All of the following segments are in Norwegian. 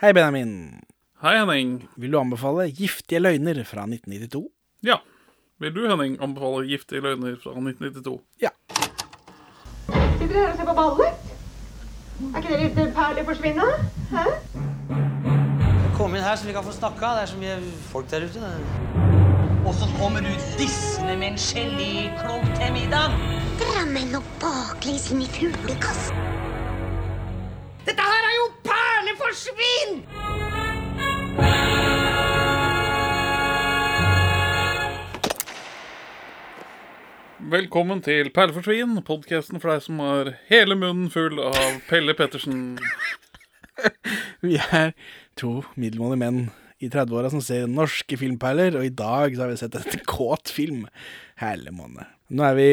Hei, Benjamin. Hei, Henning. Vil du anbefale 'Giftige løgner' fra 1992? Ja. Vil du, Henning, anbefale 'Giftige løgner' fra 1992? Ja. Sitter dere her og ser på ballet? Er ikke dere ute perler forsvinne? Hæ? Kom inn her så vi kan få snakka. Det er så mye folk der ute. Og så kommer du dissende med en geléklump til middag. Dra meg nå baklengs inn i fuglekassen. Velkommen til Perleforsvin, podkasten for deg som har hele munnen full av Pelle Pettersen. Vi er to middelmådige menn i 30-åra som ser norske filmperler, og i dag så har vi sett et kåt film. Herlig måned. Nå, er vi,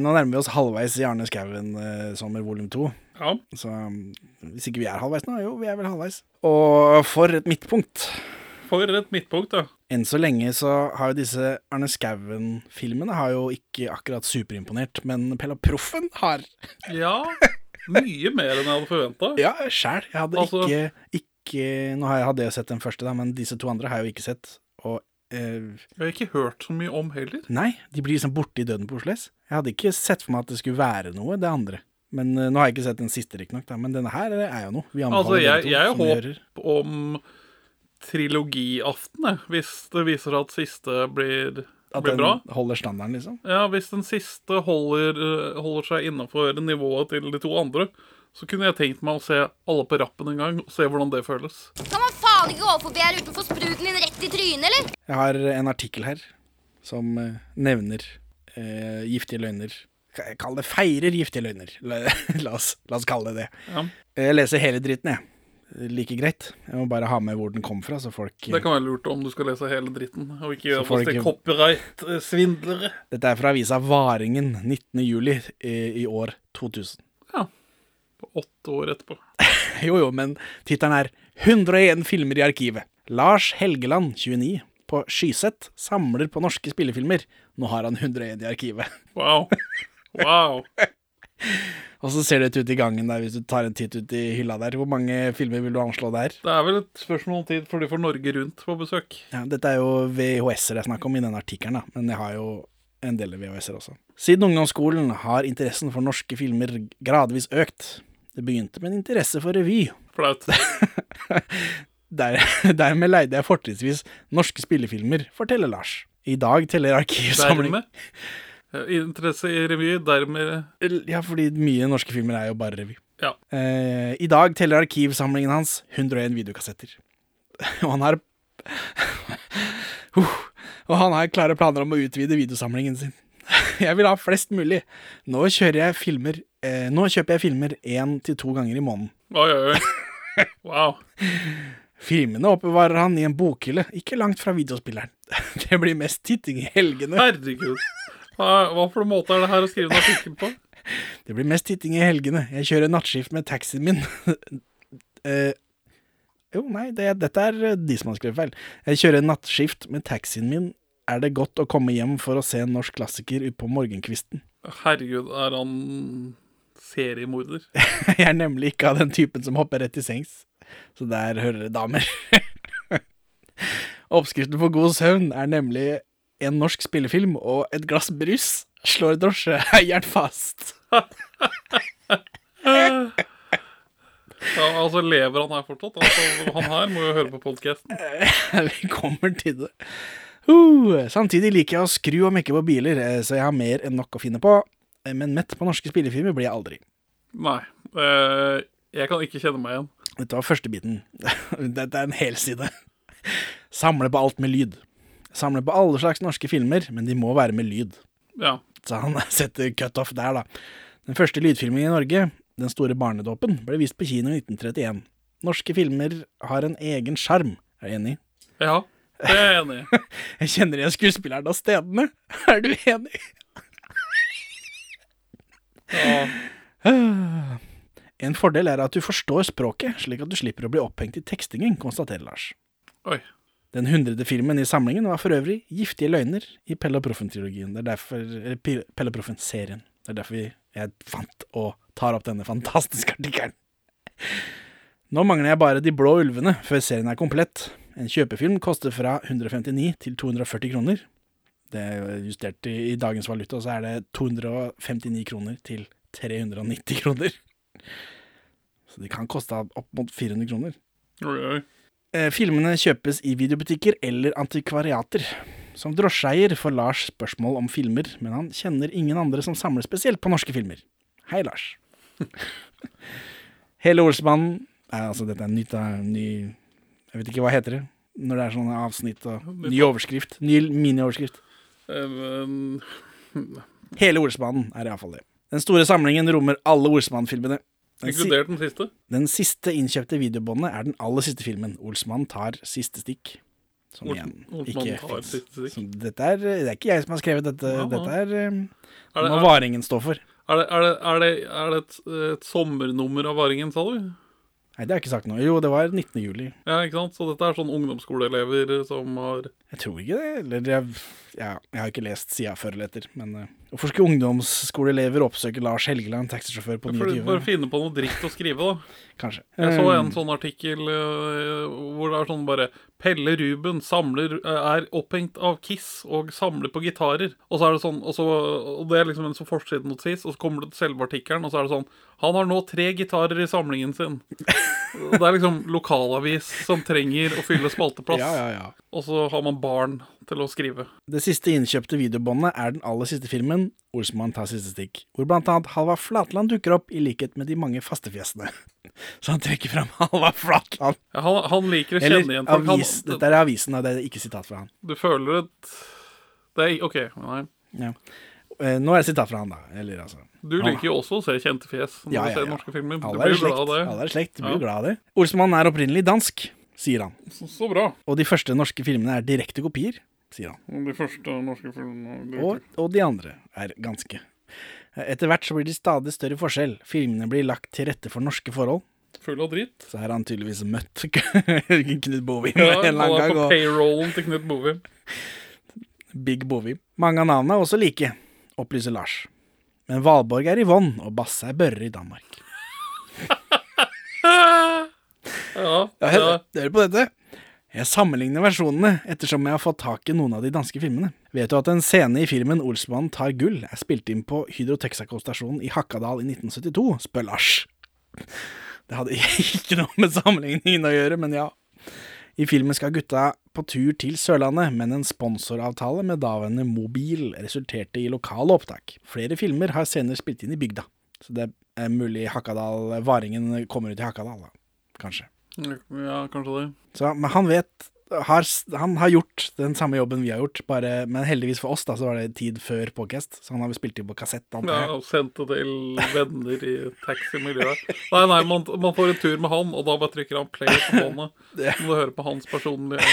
nå nærmer vi oss halvveis i Arne Skouen eh, sommer volum to. Ja. Så um, hvis ikke vi er halvveis nå, jo, vi er vel halvveis. Og for et midtpunkt. For et midtpunkt, da. Enn så lenge så har jo disse Arne Skouen-filmene har jo ikke akkurat superimponert, men Pella Proffen har Ja. Mye mer enn jeg hadde forventa. Ja, sjæl. Jeg hadde Altså- ikke, ikke Nå har jeg- hadde jeg sett den første, da, men disse to andre har jeg jo ikke sett. Og eh, Jeg har ikke hørt så mye om heller. nei, de blir liksom borte i døden på Oslo S. Jeg hadde ikke sett for meg at det skulle være noe, det andre. Men eh, Nå har jeg ikke sett den siste, riktignok, da, men denne her eh, er jo noe. Vi anbefaler Altså, jeg, dere to, jeg som vi hører. håper om trilogiaften, jeg, hvis det viser seg at siste blir, At blir bra. den holder standarden, liksom. Ja, hvis den siste holder, eh, holder seg innafor nivået til de to andre, så kunne jeg tenkt meg å se alle på rappen en gang, og se hvordan det føles. Kan man faen ikke gå forbi her uten å få spruten din rett i trynet, eller? Jeg har en artikkel her som eh, nevner eh, giftige løgner. Ka- Kall det feirer giftige løgner. La, la, oss, la oss kalle det det. Ja. Jeg leser hele dritten, jeg. Like greit. Jeg må bare ha med hvor den kom fra, så folk Det kan være lurt om du skal lese hele dritten, og ikke Så gjøre får oss til ikke- copyright-svindlere. Dette er fra avisa Varingen 19. juli eh, i år 2000. Ja. På åtte år etterpå. Jo, jo, men tittelen er 101 filmer i arkivet. Lars Helgeland, 29, på Skyset, samler på norske spillefilmer. Nå har han 101 i arkivet. Wow. Wow. Og så ser det ut i gangen der, hvis du tar en titt ut i hylla der. Hvor mange filmer vil du anslå der? Det er vel et spørsmål om tid før de får Norge Rundt på besøk. Ja, dette er jo VHS-er det er snakk om i denne artikkelen, da. men jeg har jo en del VHS-er også. Siden ungdomsskolen har interessen for norske filmer gradvis økt. Det begynte med en interesse for revy. Flaut. Der, dermed leide jeg fortrinnsvis norske spillefilmer, forteller Lars. I dag teller arkivsamling Dermed. eh, Interesse i revy, dermed Ja, fordi mye norske filmer er jo bare revy. Ja. Eh, I dag teller arkivsamlingen hans 101 videokassetter. Og han har Huh. Og han har klare planer om å utvide videosamlingen sin. Jeg vil ha flest mulig. Nå kjører jeg filmer eh, Nå kjøper jeg filmer én til to ganger i måneden. Oi, oi, oi. Wow. Filmene oppbevarer han i en bokhylle, ikke langt fra videospilleren. Det blir mest titting i helgene. Herregud. Hva, hva for en måte er det her å skrive en artikkel på? Det blir mest titting i helgene. Jeg kjører nattskift med taxien min. Eh, jo, nei, det, dette er eh, de som har skrevet feil. Jeg kjører nattskift med taxien min. Er det godt å komme hjem for å se en norsk klassiker utpå morgenkvisten? Herregud, er han seriemorder? Jeg er nemlig ikke av den typen som hopper rett i sengs. Så der hører det damer. Oppskriften på god søvn er nemlig en norsk spillefilm og et glass brus slår drosjeeieren fast. Ja, altså, lever han her fortsatt? Altså, han her må jo høre på podkasten. Vi kommer til det. Uh, samtidig liker jeg å skru og mekke på biler, eh, så jeg har mer enn nok å finne på. Eh, Men mett på norske spillefilmer blir jeg aldri. Nei. eh, jeg kan ikke kjenne meg igjen. Dette var første biten. Dette er en hel side. Samle på alt med lyd. Samle på alle slags norske filmer, men de må være med lyd. Ja. Så han setter cutoff der, da. Den første lydfilmen i Norge, Den store barnedåpen, ble vist på kino i 1931. Norske filmer har en egen sjarm. Er du enig? Ja, det er jeg enig i. Jeg kjenner igjen skuespilleren av stedene. Er du enig? Ja. En fordel er at du forstår språket, slik at du slipper å bli opphengt i tekstingen, konstaterer Lars. Oi. Den hundrede filmen i samlingen var for øvrig Giftige løgner i Pelle og Proffen-trilogien. Det er derfor Eller P- Pelle og Proffen-serien. Det er derfor vi- jeg fant og tar opp denne fantastiske artikkelen. Nå mangler jeg bare De blå ulvene før serien er komplett. En kjøpefilm koster fra 159 til 240 kroner. Det er justert i, i dagens valuta, så er det 259 kroner til 390 kroner. Så de kan koste opp mot 400 kroner. Oi, oi. Eh, Filmene kjøpes i videobutikker eller antikvariater. Som drosjeeier får Lars spørsmål om filmer, men han kjenner ingen andre som samler spesielt på norske filmer. Hei, Lars. Hele Olsmannen eh, Altså, dette er nytt, da, ny Jeg vet ikke hva heter det når det er sånne avsnitt og ny overskrift. Ny minioverskrift. Um, Hele Olsmannen er iallfall det. Den store samlingen rommer alle Olsmann-filmene. Den si- inkludert den siste. Den siste innkjøpte videobåndet er den aller siste filmen. Olsmann tar siste stikk. Som Olsen- igjen Olsmann ikke tar fins. siste stikk. Som Dette er, det er ikke jeg som har skrevet dette. Ja, ja. Dette er, eh, Er det, må er, Varingen stå for. er det, er det, er det, er det et, et sommernummer av Varingen, sa du? Nei, det har jeg ikke sagt noe. Jo, det var 19. juli. Ja, ikke sant? Så dette er sånn ungdomsskoleelever som har Jeg tror ikke det. Eller jeg, ja, jeg har ikke lest sida før eller etter. Men eh, hvorfor skulle ungdomsskoleelever oppsøke Lars Helgeland, taxisjåfør på For, bare 29? finne på noe dritt å skrive, da. Kanskje. Jeg så Eh, en sånn artikkel eh, hvor det er sånn bare Pelle Ruben samler, eh, er opphengt av Kiss og samler på gitarer. Og så er det sånn, og, så, og det er liksom en sånn forsidenotis, og så kommer det til selve artikkelen, og så er det sånn Han har nå tre gitarer i samlingen sin. Og Det er liksom lokalavis som trenger å fylle spalteplass. Ja, ja, ja. Og så har man barn til å skrive. Det siste innkjøpte videobåndet er den aller siste filmen, 'Olsmann tar siste stikk', hvor blant annet Halvard Flatland dukker opp, i likhet med de mange festefjesene. Så han trekker fram Halvard Flatland. Ja, han, han liker å kjenne Eller igjen folk. avis. Han, Dette er avisen, og det er ikke sitat fra han. du føler et Det er OK. Nei. Ja. Eh, Nå er det sitat fra han, da. Eller altså Du Han- liker jo også å se kjente fjes når du ser norske filmer. Du Alle er i blir slekt. glad av det. Alle er i slekt. Du blir Ja. jo glad av det. Olsmann er opprinnelig dansk, sier han. Så, så bra. Og de første norske filmene er direkte kopier, sier han. De første norske filmene og, og de andre er ganske. Etter hvert så blir det stadig større forskjell. Filmene blir lagt til rette for norske forhold. Full av dritt. Så her har han tydeligvis møtt Knut Bovim Ja, en eller han er annen gang. på Og payrollen til Knut Bovim. Big Bovim. Mange av navnene er også like, opplyser Lars. Men Valborg er Yvonne, og Basse er Børre i Danmark. Ja, ja. Hører hører du på dette? Jeg sammenligner versjonene ettersom jeg har fått tak i noen av de danske filmene. Vet du at en scene i filmen 'Olsmannen tar gull' er spilt inn på Hydro Texaco-stasjonen i Hakadal i 1972? spør Lars. Det hadde ikke noe med sammenligningen å gjøre, men ja. I filmen skal gutta på tur til Sørlandet, men en sponsoravtale med daværende Mobil resulterte i lokale opptak. Flere filmer har senere spilt inn i bygda. Så det er mulig Hakadal, Varingen kommer ut i Hakadal, da. Kanskje. ja, kanskje det. Så, men han vet har, Han har gjort den samme jobben vi har gjort, bare, men heldigvis for oss da, så var det tid før podcast, så han har vel spilt inn på kassett. antar Ja, jeg. og Sendt det til venner i taximiljøet. Nei, nei, man, man får en tur med han, og da bare trykker han play på hånda. Så må du høre på hans personlige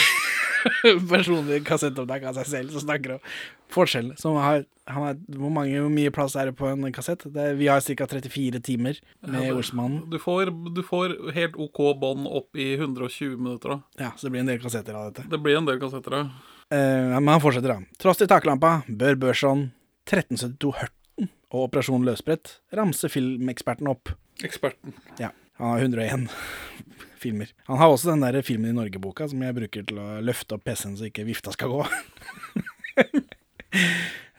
Personlig kassettopptak av seg selv som snakker om forskjellene. som har, han har, hvor, mange, hvor mye plass er det på en kassett? Det, er- vi har ca. 34 timer med Olsmannen. Du får, du får helt OK bånd opp i 120 minutter, da. Ja, så det blir en del kassetter av dette. Det blir en del kassetter, ja. Eh, men han fortsetter, da. Tross til taklampa, Bør Børson, 1372 Hørten og Operasjon Løsbrett ramser filmeksperten opp. Eksperten. Ja, han har 101 filmer. Han har også den der Filmen i Norge-boka som jeg bruker til å løfte opp PC-en så ikke vifta skal gå.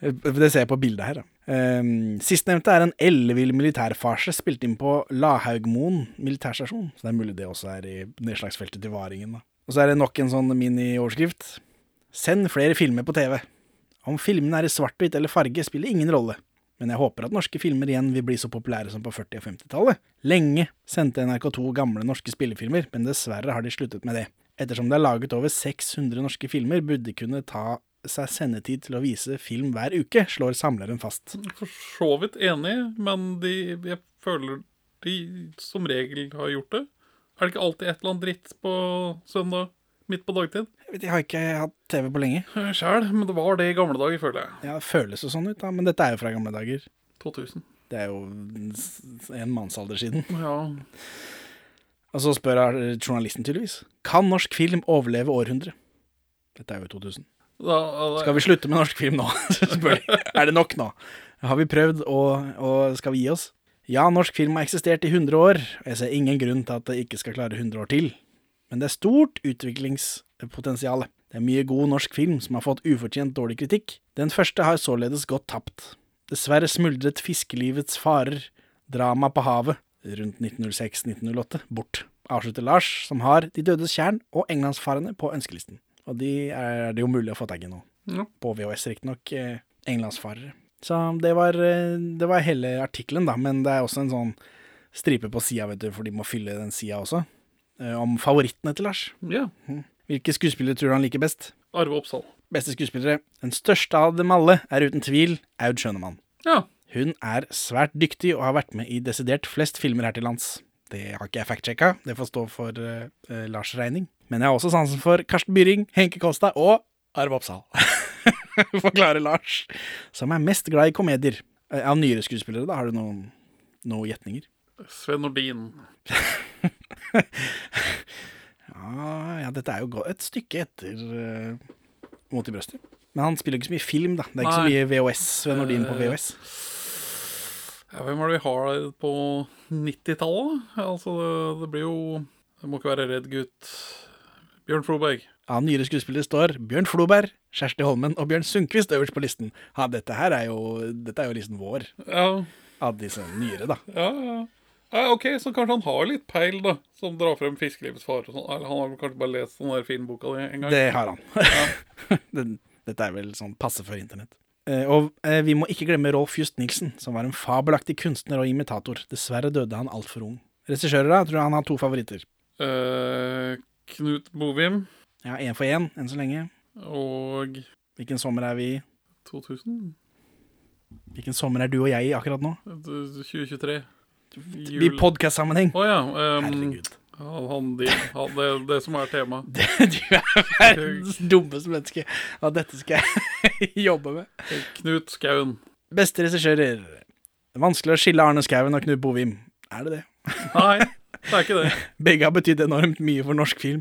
Det ser jeg på bildet her. da. Ehm, Sistnevnte er en ellevill militærfarse spilt inn på Lahaugmoen militærstasjon. Så det er mulig det også er i nedslagsfeltet til Varingen. da. Og så er det nok en sånn mini-overskrift. Send flere filmer på TV. Om filmene er i svart-hvitt eller farge, spiller ingen rolle. Men jeg håper at norske filmer igjen vil bli så populære som på 40- og 50-tallet. Lenge sendte NRK2 gamle norske spillefilmer, men dessverre har de sluttet med det. Ettersom det er laget over 600 norske filmer, burde de kunne ta seg sendetid til å vise film hver uke, slår samleren fast. For så vidt enig, men de, jeg føler de som regel har gjort det. Er det ikke alltid et eller annet dritt på søndag midt på dagtid? Jeg vet, jeg har ikke hatt TV på lenge. Sjæl, men det var det i gamle dager, føler jeg. Ja, det føles jo sånn ut, da, men dette er jo fra gamle dager. 2000. Det er jo s- en mannsalder siden. Ja, Og så spør eh, journalisten tydeligvis. Kan norsk film overleve århundret? Dette er jo 2000. da, Skal vi slutte med norsk film nå? Så spør de. Er det nok nå? Har vi prøvd, og, og skal vi gi oss? Ja, norsk film har eksistert i 100 år, og jeg ser ingen grunn til at det ikke skal klare 100 år til. Men det er stort utviklingspotensial. Det er mye god norsk film som har fått ufortjent dårlig kritikk. Den første har således gått tapt. Dessverre smuldret fiskelivets farer, drama på havet, rundt 1906-1908, bort. Avslutter Lars, som har De dødes tjern og Englandsfarene på ønskelisten. Og de er det jo mulig å få tak i nå. Ja. På VHS, riktignok. eh, Englandsfarere. Så det var, eh, det var hele artikkelen, da. Men det er også en sånn stripe på sida, vet du, for de må fylle den sida også. eh, Om favorittene til Lars. ja. Hvilke skuespillere tror du han liker best? Arve Oppsal. Beste skuespillere. Den største av dem alle er uten tvil Aud Schønemann. Ja. Hun er svært dyktig og har vært med i desidert flest filmer her til lands. Det har ikke jeg fact-sjekka, det får stå for eh, eh, Lars regning. Men jeg har også sansen for Karsten Byring, Henke Kolstad og Arve Oppsal. Forklarer Lars, som er mest glad i komedier. Eh, Av nyere skuespillere, da, har du noen, noen gjetninger? Sven Nordin. Ah, ja, dette er jo gå- et stykke etter eh, Mot i brøstet. Men han spiller jo ikke så mye film, da. Det er ikke så Nei. mye VHS. Sven Nordin på VHS. Ja, hvem er det vi har der på 90-tallet? Altså, det, det blir jo Det må ikke være Redd Gutt. Bjørn Froberg. Av nyere skuespillere står Bjørn Floberg, Kjersti Holmen og Bjørn Sundquist øverst på listen. Ha, dette her er jo, dette er jo listen vår, Ja, av disse nyere, da. ja, ja. ja. OK, så kanskje han har litt peil, da, som drar frem fiskelivets fare og sånn. Eller han har vel kanskje bare lest den der filmboka di en gang. Det har han. Den- dette er vel sånn passe for internett. Eh, og eh, vi må ikke glemme Rolf Just Nilsen, som var en fabelaktig kunstner og imitator. Dessverre døde han altfor ung. Regissører, da? Tror jeg han har to favoritter. Eh, Knut Bovim Ja, én for én, enn så lenge. og Hvilken sommer er vi i? 2000? Hvilken sommer er du og jeg i akkurat nå? 2023. I Jul- podkast-sammenheng. Å ja. ehm, Herregud. han, han, de, han, det, det som er tema. Det, du er verdens dummeste menneske. Og dette skal jeg jobbe med. Knut Skaun. Beste regissører. Vanskelig å skille Arne Skouen og Knut Bovim. Er det det? Nei, det er ikke det. Begge har betydd enormt mye for norsk film.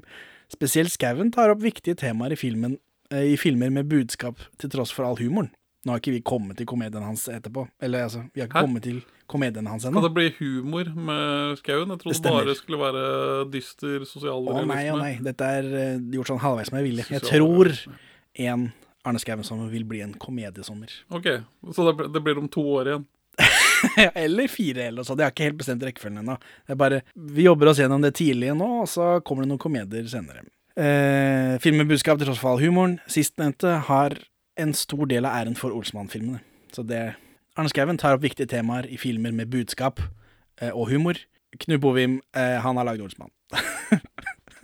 Spesielt Skouen tar opp viktige temaer i, filmen, eh, i filmer med budskap, til tross for all humoren. Nå har ikke vi kommet til komedien hans etterpå. Eller altså, vi har ikke Hæ? kommet til komedien hans Kan ennå. det bli humor med Skauen? Jeg Det trodde stemmer. bare skulle være dyster Å sosialrealisme. nei, å nei. Dette er eh, gjort sånn halvveis med vilje. Jeg tror Sosialrealisme. en Arne Skouen-sommer vil bli en komediesommer. Ok, Så det, det blir om to år igjen. Ja, eller fire, eller noe sånt. Jeg har ikke helt bestemt rekkefølgen ennå. Det er bare, Vi jobber oss gjennom det tidlige nå, og så kommer det noen komedier senere. Eh, filmen Budskap til tross for all humoren, sistnevnte, har en stor del av æren for Olsmann-filmene. Så det Arne Skouen tar opp viktige temaer i filmer med budskap eh, og humor. Knut Bovim, eh, han har lagd Olsmann.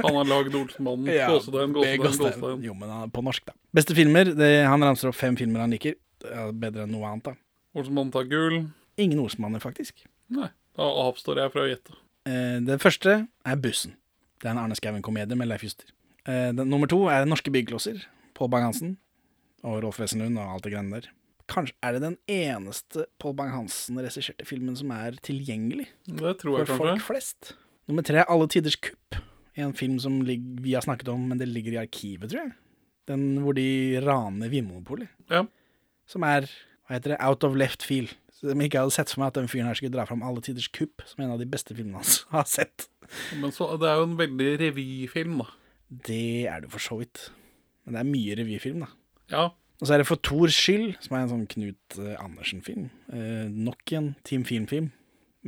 Han har lagd Olsenmannen. Ja, gåsetegn, med gåsetegn, Gåstein. gåsetegn. Jo, men han er på norsk, da. Beste filmer. Det, han ramser opp fem filmer han liker. Det er Bedre enn noe annet, da. Olsenmannen tar gull. Ingen Olsmanner, faktisk. Nei, da avstår jeg fra å gjette. Eh, Den første er Bussen. Det er en Arne Skouen-komedie med Leif Juster. Eh, Den, nummer to er Norske byggeklosser. Pål Bang-Hansen og Rolf Wesenlund og alt det greiene der. Kanskje er det den eneste Pål Bang-Hansen-regisserte filmen som er tilgjengelig Det for tror jeg kanskje. folk flest. Nummer tre er Alle tiders kupp. En film som lig- vi har snakket om, men det ligger i arkivet, tror jeg. Den hvor de raner Vinmonopolet. Ja. Som er, hva heter det, Out of Left Field. Som jeg ikke hadde sett for meg at den fyren her skulle dra fram Alle tiders kupp, som en av de beste filmene hans har sett. Men så, det er jo en veldig revyfilm, da. Det er det for så vidt. Men det er mye revyfilm, da. Ja. Og så er det For Thors skyld, som er en sånn Knut eh, Andersen-film. Eh, nok en Team Film-film,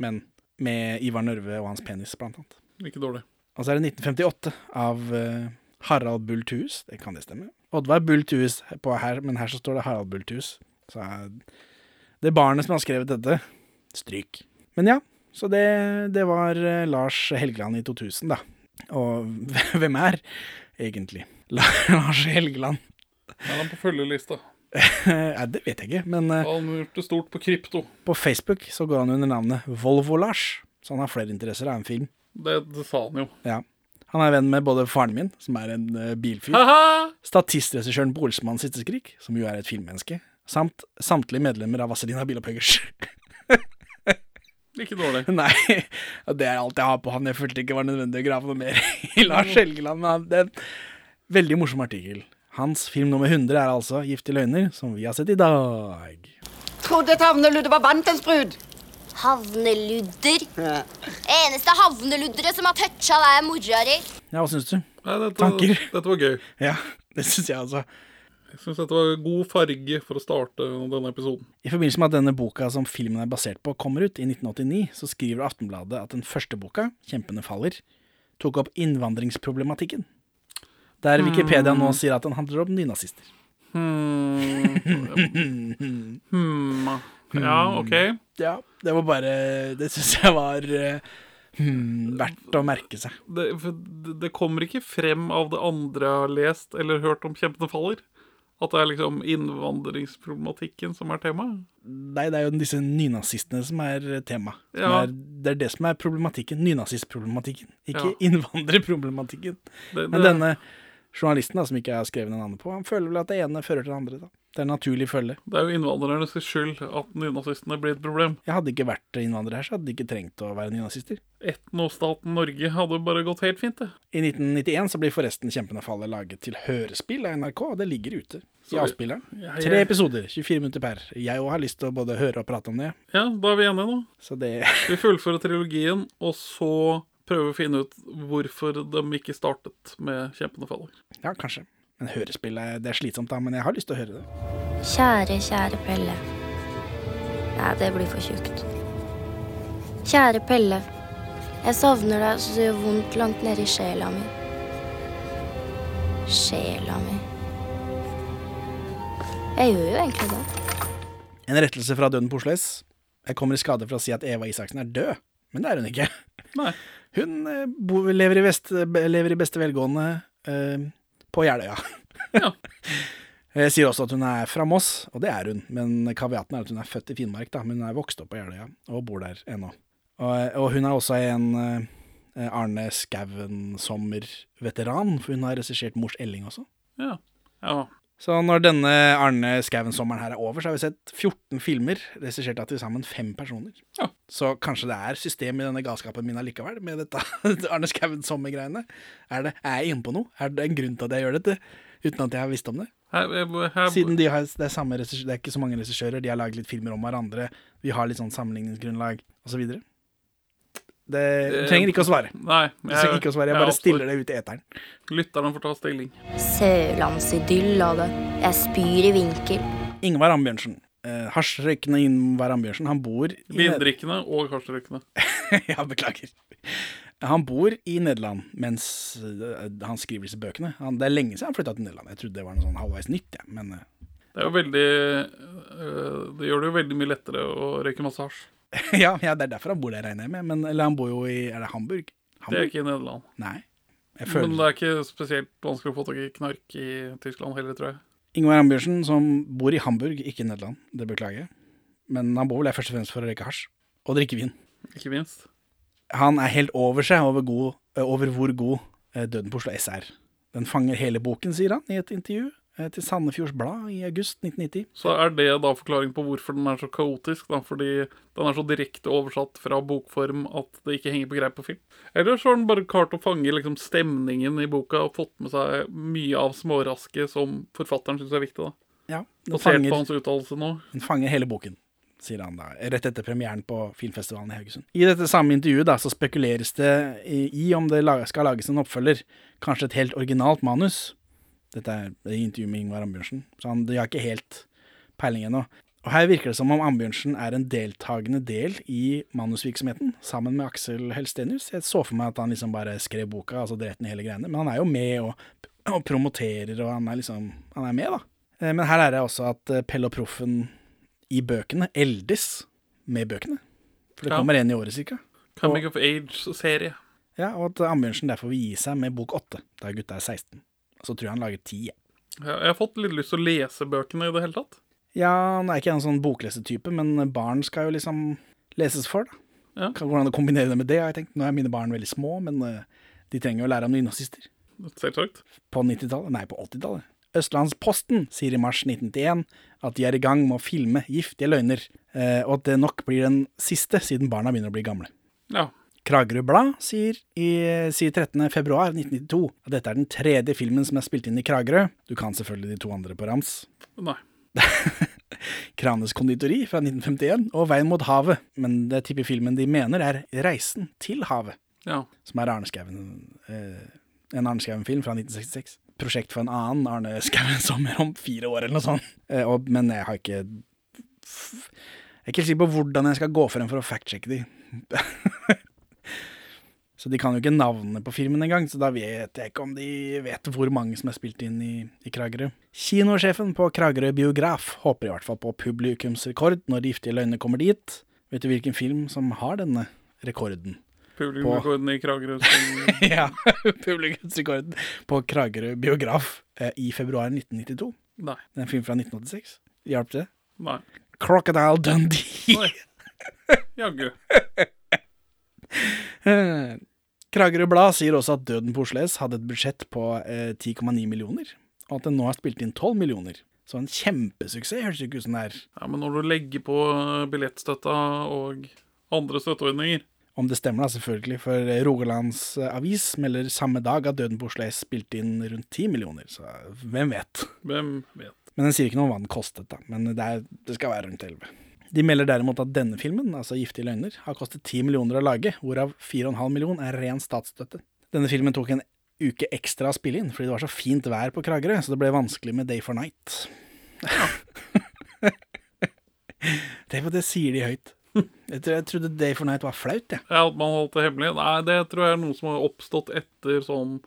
men med Ivar Nørve og hans penis, blant annet. Ikke dårlig. Og så er det 1958 av eh, Harald Bull Thues. Det kan det stemme? Oddvar Bull Thues på her, men her så står det Harald Bull Thues. Så eh, det er barnet som har skrevet dette. Stryk. Men ja, så det, det var eh, Lars Helgeland i 2000, da. Og hvem er egentlig La- Lars Helgeland? Er han på følgelista? Nei, det vet jeg ikke, men eh, Han har gjort det stort på krypto. på Facebook så går han under navnet Volvo-Lars. Så han har flere interesser av en film. Det, det sa han jo. Ja. Han er venn med både faren min, som er en eh, bilfyr, Ha-ha! statistregissøren på Olsmanns siste skrik, som jo er et filmmenneske, samt samtlige medlemmer av Vazelina Bilopphøggers. Ikke dårlig. Nei, det er alt jeg har på han. Jeg følte ikke det var nødvendig å grave noe mer i Lars Helgeland. Men han- det er en veldig morsom artikkel. Hans film nummer 100 er altså 'Giftige løgner', som vi har sett i dag. Trodde tavneluddet var vantens brud. Havneludder. Ja. Eneste havneludderet som har toucha deg, mora di. Ja, hva syns du? Nei, dette, Tanker? dette var gøy. Ja, det syns jeg altså. Jeg syns dette var god farge for å starte denne episoden. I forbindelse med at denne boka som filmen er basert på, kommer ut i 1989, så skriver Aftenbladet at den første boka, 'Kjempene faller', tok opp innvandringsproblematikken. Der Wikipedia nå sier at den handler om nynazister. Hmm. Ja, OK. Ja, det var bare Det syns jeg var eh, hmm, verdt å merke seg. Det, for det- det kommer ikke frem av det andre jeg har lest eller hørt om Kjempene faller. At det er liksom innvandringsproblematikken som er temaet. Nei, det er jo disse nynazistene som er tema. Som Ja. er, det er det som er problematikken. Nynazistproblematikken, ikke Ja. innvandrerproblematikken. Det- Men det- denne journalisten da, som ikke har skrevet den andre på, han føler vel at det ene fører til det andre. da. Det er en naturlig følge. Det er jo innvandrernes skyld at nynazistene blir et problem. Jeg hadde ikke vært innvandrer her, så hadde jeg ikke trengt å være nynazister. Etnostaten Norge hadde bare gått helt fint, det. I 1991 så blir forresten 'Kjempene faller' laget til hørespill av NRK, og det ligger ute i Så- avspilleren. Ja, Tre jeg- episoder, 24 minutter per. Jeg òg har lyst til å både høre og prate om det, Ja, da er vi enige nå. så det Vi fullfører trilogien, og så prøver vi å finne ut hvorfor de ikke startet med Kjempende faller. Ja, kanskje. Men hørespill er, det er slitsomt, da, men jeg har lyst til å høre det. Kjære, kjære Pelle. Nei, det blir for tjukt. Kjære Pelle. Jeg savner deg så det gjør vondt langt nede i sjela mi. Sjela mi. Jeg gjør jo egentlig det. En rettelse fra Døden på Oslo S. Jeg kommer i skade for å si at Eva Isaksen er død, men det er hun ikke. Nei. Hun eh, bo, lever, i vest, be- lever i beste velgående eh, på Jeløya. Ja. Jeg sier også at hun er fra Moss, og det er hun, men kaviaten er at hun er født i Finnmark, da, men hun er vokst opp på Jeløya og bor der ennå. Og, og hun er også en eh, Arne Skouen-sommer-veteran, for hun har regissert Mors Elling også. Ja. ja. Så når denne Arne Skouen-sommeren her er over, så har vi sett 14 filmer regissert av til sammen fem personer. Ja. Så kanskje det er system i denne galskapen min allikevel, med dette Arne Skouen-sommer-greiene. Er, det- er jeg inne på noe? Er det en grunn til at jeg gjør dette, uten at jeg har visst om det? Her, her, her, Siden de har, det, er samme regissør, det er ikke så mange regissører, de har laget litt filmer om hverandre, vi har litt sånn sammenligningsgrunnlag, osv. Det du trenger ikke å svare. Nei. Du trenger ikke å svare, jeg bare stiller det ut i eteren. Lytterne får ta stilling. Sørlandsidyll av det. Jeg spyr i vinkel. Ingvar Ambjørnsen. Eh, Hasjrøykende Ingvar Ambjørnsen, han bor i Ned- Vindrikkende og hasjdrikkende. Ja, beklager. Han bor i Nederland mens øh, han skriver disse bøkene. Han, det er lenge siden han flytta til Nederland. Jeg trodde det var noe sånn halvveis nytt, jeg. Men øh, Det er jo veldig øh, Det gjør det jo veldig mye lettere å røyke masse hasj. ja, ja, det er derfor han bor der, regner jeg med. Men, eller han bor jo i Er det Hamburg? Det er Hamburg? ikke i Nederland. Nei. Jeg Men føler det er ikke spesielt vanskelig å få tak i knark i Tyskland heller, tror jeg. Ingvar Ambjørnsen, som bor i Hamburg, ikke i Nederland. Det beklager jeg. Men han bor vel der først og fremst for å røyke hasj. Og drikke vin. Ikke minst. Han er helt over seg over, god, eh, over hvor god eh, Døden på Oslo S er. Den fanger hele boken, sier han i et intervju eh, til Sandefjords Blad i august 1990. Så er det da forklaring på hvorfor den er så kaotisk, da, fordi den er så direkte oversatt fra bokform at det ikke henger på greip på film. Eller så har den bare klart å fange liksom, stemningen i boka og fått med seg mye av smårasket som forfatteren syns er viktig. da. Ja, den Basert fanger, på hans uttalelse nå. den fanger hele boken, sier han da, rett etter premieren på filmfestivalen i Haugesund. I dette samme intervjuet da, så spekuleres det i i om det la- skal lages en oppfølger, kanskje et helt originalt manus. Dette er i intervju med Ingvar Ambjørnsen, så han de har ikke helt peiling ennå. Og her virker det som om Ambjørnsen er en deltagende del i manusvirksomheten, sammen med Aksel Helstenius. Jeg så for meg at han liksom bare skrev boka, altså drev den i hele greiene, men han er jo med og, og promoterer, og han er liksom, han er med da. Eh, Men her er det også at eh, Pelle og Proffen i bøkene eldes med bøkene. For det Ja. kommer én i året, cirka. Coming of Age-serie. Ja, og at Ambjørnsen derfor vil gi seg med bok åtte, da gutta er 16. Og så tror jeg han lager ti. jeg. Jeg jeg har fått litt lyst til å lese bøkene i det hele tatt. Ja, han er ikke en sånn boklesetype, men barn skal jo liksom leses for, da. Ja. Kan- Hvordan å kombinere det med det, har jeg tenkt. Nå er mine barn veldig små, men eh, de trenger jo å lære om nynazister. Selvsagt. På 90-tallet, nei, på 80-tallet. Østlandsposten sier i mars 1991 at de er i gang med å filme giftige løgner, eh, og at det nok blir den siste siden barna begynner å bli gamle. Ja. Kragerø Blad sier, i, sier 13.2.1992 at dette er den tredje filmen som er spilt inn i Kragerø. Du kan selvfølgelig de to andre på rams. Nei. Kranes konditori fra 1951 og Veien mot havet, men det tipper filmen de mener er Reisen til havet, Ja. som er Arne Skouen, eh, en Arne Skouen-film fra 1966. Prosjekt for en annen Arne Skouen sommer om fire år eller noe sånt. Eh, og, men jeg har ikke f- Jeg er ikke helt sikker på hvordan jeg skal gå frem for å fact-sjekke de. så de kan jo ikke navnene på filmen engang, så da vet jeg ikke om de vet hvor mange som er spilt inn i, i Kragerø. Kinosjefen på Kragerø Biograf håper i hvert fall på publikumsrekord når De giftige løgnene kommer dit. Vet du hvilken film som har denne rekorden? Publikumrekorden i Kragerø. som- ja, publikumsrekorden på Kragerø Biograf eh, i februar 1992. Nei. Det er en film fra 1986. Hjalp det? Nei. Crocodile Dundee. Nei. Jaggu. Eh, Kragerø Blad sier også at Døden på Oslo S hadde et budsjett på eh, 10,9 millioner, og at den nå har spilt inn 12 millioner. Så en kjempesuksess, høres det ikke ut som det er. Ja, men når du legger på eh, billettstøtta og andre støtteordninger Om det stemmer, da, selvfølgelig, for Rogalands eh, Avis melder samme dag at Døden på Oslo S spilte inn rundt 10 millioner, så eh, hvem vet? Hvem vet? Men den sier ikke noe om hva den kostet, da. Men det, er, det skal være rundt 11. De melder derimot at denne filmen, altså 'Giftige løgner', har kostet 10 millioner å lage, hvorav 4,5 millioner er ren statsstøtte. Denne filmen tok en uke ekstra å spille inn, fordi det var så fint vær på Kragerø, så det ble vanskelig med 'Day for Night'. Tenk på det sier de høyt. Jeg, tror, jeg trodde 'Day for Night' var flaut, jeg. Ja, At man holdt det hemmelig? Nei, det tror jeg er noe som har oppstått etter sånn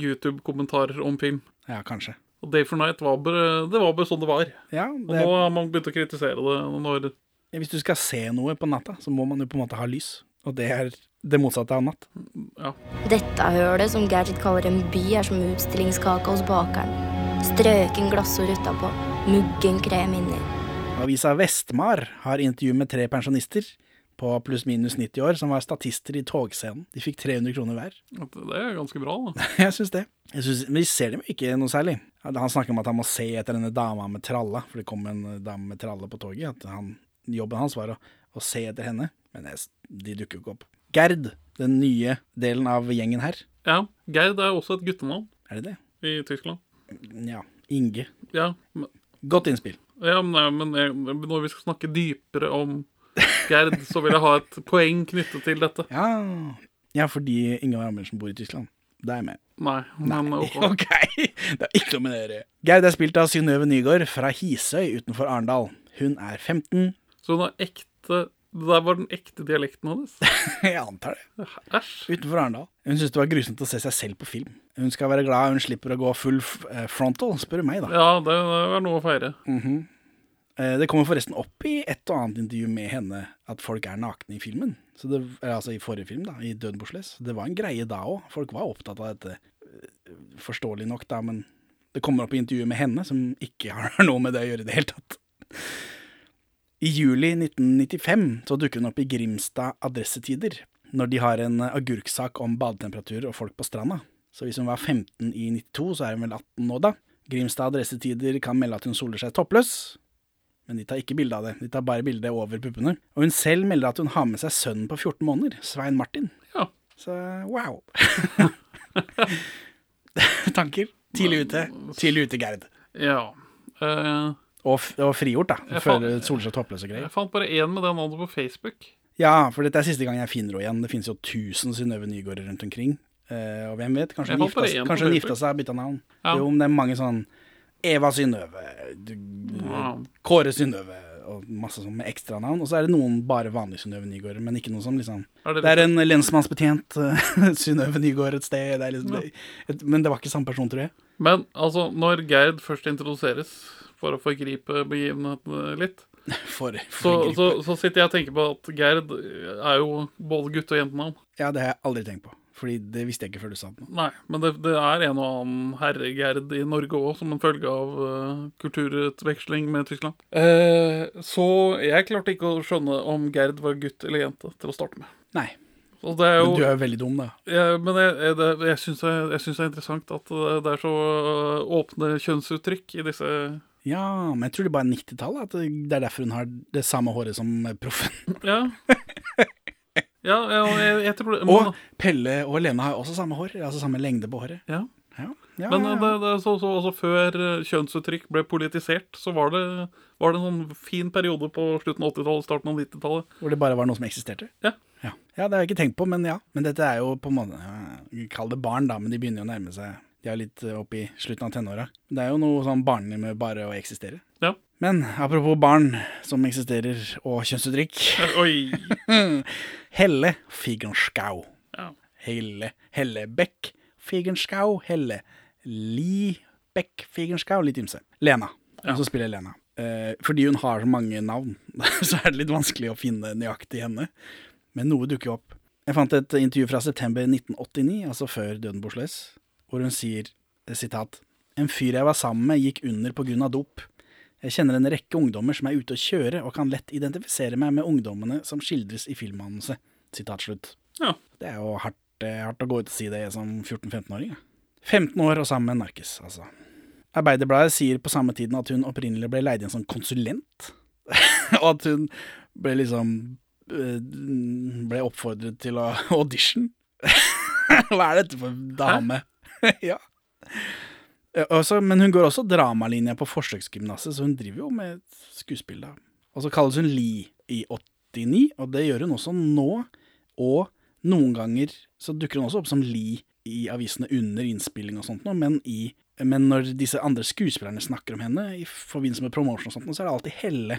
YouTube-kommentarer om film. Ja. kanskje. Og Day for Night var bare, det var bare sånn det var. Ja, Og det, nå har man begynt å kritisere det. Når, hvis du skal se noe på natta, så må man jo på en måte ha lys. Og det er det motsatte av natt. ja. Dette hølet, som Gadget kaller en by, er som utstillingskake hos bakeren. Strøken glassord utapå, muggen krem inni. Avisa Vestmar har intervju med tre pensjonister på pluss-minus 90 år som var statister i togscenen. De fikk 300 kroner hver. At Det er ganske bra, da. Jeg syns det. Jeg synes, men vi ser dem ikke noe særlig. Han snakker om at han må se etter denne dama med tralla, for det kom en eh, dame med tralla på toget. At han, jobben hans var å, å se etter henne. Men jeg, s- de dukker jo ikke opp. Gerd, den nye delen av gjengen her. Ja, Gerd er også et guttenavn Er det det? i Tyskland. Ja. Inge. Ja, men, Godt innspill. ja, men, nei, men jeg, når vi skal snakke dypere om Gerd, så vil jeg ha et poeng knyttet til dette. Ja, ja fordi Ingvar Amundsen bor i Tyskland. Det er jeg med. Nei, men OK. Ok, det er ikke noe med det å gjøre. Gerd er spilt av Synnøve Nygård fra Hisøy utenfor Arendal. Hun er 15. Så hun har ekte Det der var den ekte dialekten hennes? Jeg antar det. Æsj. Utenfor Arendal. Hun syns det var grusomt å se seg selv på film. Hun skal være glad hun slipper å gå full f- eh, frontal, spør du meg, da. Ja, det er noe å feire. Eh, Det kommer forresten opp i et og annet intervju med henne at folk er nakne i filmen. Så det, eh, altså i forrige film, da, i Døden på Sles. Det var en greie da òg. Folk var opptatt av dette. Eh, Forståelig nok, da, men det kommer opp i intervjuet med henne, som ikke har noe med det å gjøre i det hele tatt. I juli 1995 så dukker hun opp i Grimstad Adressetider, når de har en eh, agurksak om badetemperaturer og folk på stranda. Så hvis hun var 15 i 92, så er hun vel 18 nå, da. Grimstad Adressetider kan melde at hun soler seg toppløs, men de tar ikke bilde av det. De tar bare bilde over puppene. Og hun selv melder at hun har med seg sønnen på 14 måneder, Svein Martin. Ja. Så wow. Tanker? Tidlig ute. Tidlig ute, Gerd. ja. Eh, Og, f- og frigjort, da. Jeg Før fant- solskjær toppløs og greier. jeg fant bare én med den navnet på Facebook. Ja, for dette er siste gang jeg finner henne igjen. Det finnes jo 1000 Synnøve Nygårder rundt omkring. Eh, og hvem vet, kanskje Jeg hun fant bare gifta, en på kanskje hun Facebook. gifta seg og bytta navn. Ja. Jo, men det er mange sånn Eva Synnøve, du- Ja. Kåre Synnøve og masse sånn med ekstranavn. Og så er det noen bare vanlige Synnøve Nygårder, men ikke noe som liksom Er det Det er en lensmannsbetjent eh, Synnøve Nygård et sted. Det er liksom, det- et, men det var ikke samme person, tror jeg. Men altså, når Gerd først introduseres, for å forgripe begivenheten litt, For, så, for så, så sitter jeg og tenker på at Gerd er jo både gutte- og jentenavn. Ja, det har jeg aldri tenkt på. Fordi det visste jeg ikke før du sa det nå. Nei, men det, det er en og annen herre-Gerd i Norge òg, som en følge av eh, kulturutveksling med Tyskland. Eh, så jeg klarte ikke å skjønne om Gerd var gutt eller jente til å starte med. Nei. Og det er jo, Men du er jo veldig dum, da. jeg, men jeg, jeg, det- jeg syns det, jeg syns det er interessant at det det er så eh, åpne kjønnsuttrykk i disse Ja, men jeg tror det bare er 90-tallet. At det det er derfor hun har det samme håret som proffen. Ja. Ja, ja, jeg, jeg tror det men, Og Pelle og Lene har også samme hår. Altså samme lengde på håret. ja. Ja, ja, Men ja, eh, ja. det, det, er så, så, altså, før eh, kjønnsuttrykk ble politisert, så var det, var det en sånn fin periode på slutten av 80-tallet, starten av 90-tallet. Hvor det bare var noe som eksisterte. Ja. Ja. ja, det har jeg ikke tenkt på, men ja. Men dette er jo på en måte ja, Kall det barn, da, men de begynner jo å nærme seg De er litt eh, opp i slutten av tenåra. Det er jo noe sånn barnlig med bare å eksistere. ja. Men apropos barn som eksisterer, og kjønnsuttrykk Eh, Oi. Helle Figenschau. Ja. Helle Hellebekk Figenschau. Helle Li Bekk Figenschau. Litt ymse. Lena. Hun som spiller Lena. Eh, fordi hun har så mange navn, så er det litt vanskelig å finne nøyaktig henne. Men noe dukker jo opp. Jeg fant et intervju fra september 1989, altså før døden bortsløs, hvor hun sier, eh, sitat, En fyr jeg var sammen med gikk under på grunn av dop. Jeg kjenner en rekke ungdommer som er ute å kjøre, og kan lett identifisere meg med ungdommene som skildres i filmmanuset. Sitat slutt. Ja. Det er jo hardt, eh, hardt å gå ut og si det som 14-15-åring. ja. 15 år og sammen med en narkis, altså. Arbeiderbladet sier på samme tiden at hun opprinnelig ble leid inn som konsulent, og at hun ble liksom eh, ble oppfordret til å audition. Hva er dette for dame? ja. Eh, Også, men hun går også dramalinja på forsøksgymnaset, så hun driver jo med skuespill. da. Og så kalles hun Li i 89, og det gjør hun også nå. Og noen ganger så dukker hun også opp som Li i avisene under innspilling og sånt, noe, men, i, men når disse andre skuespillerne snakker om henne i forbindelse med promotion og sånt, noe, så er det alltid Helle.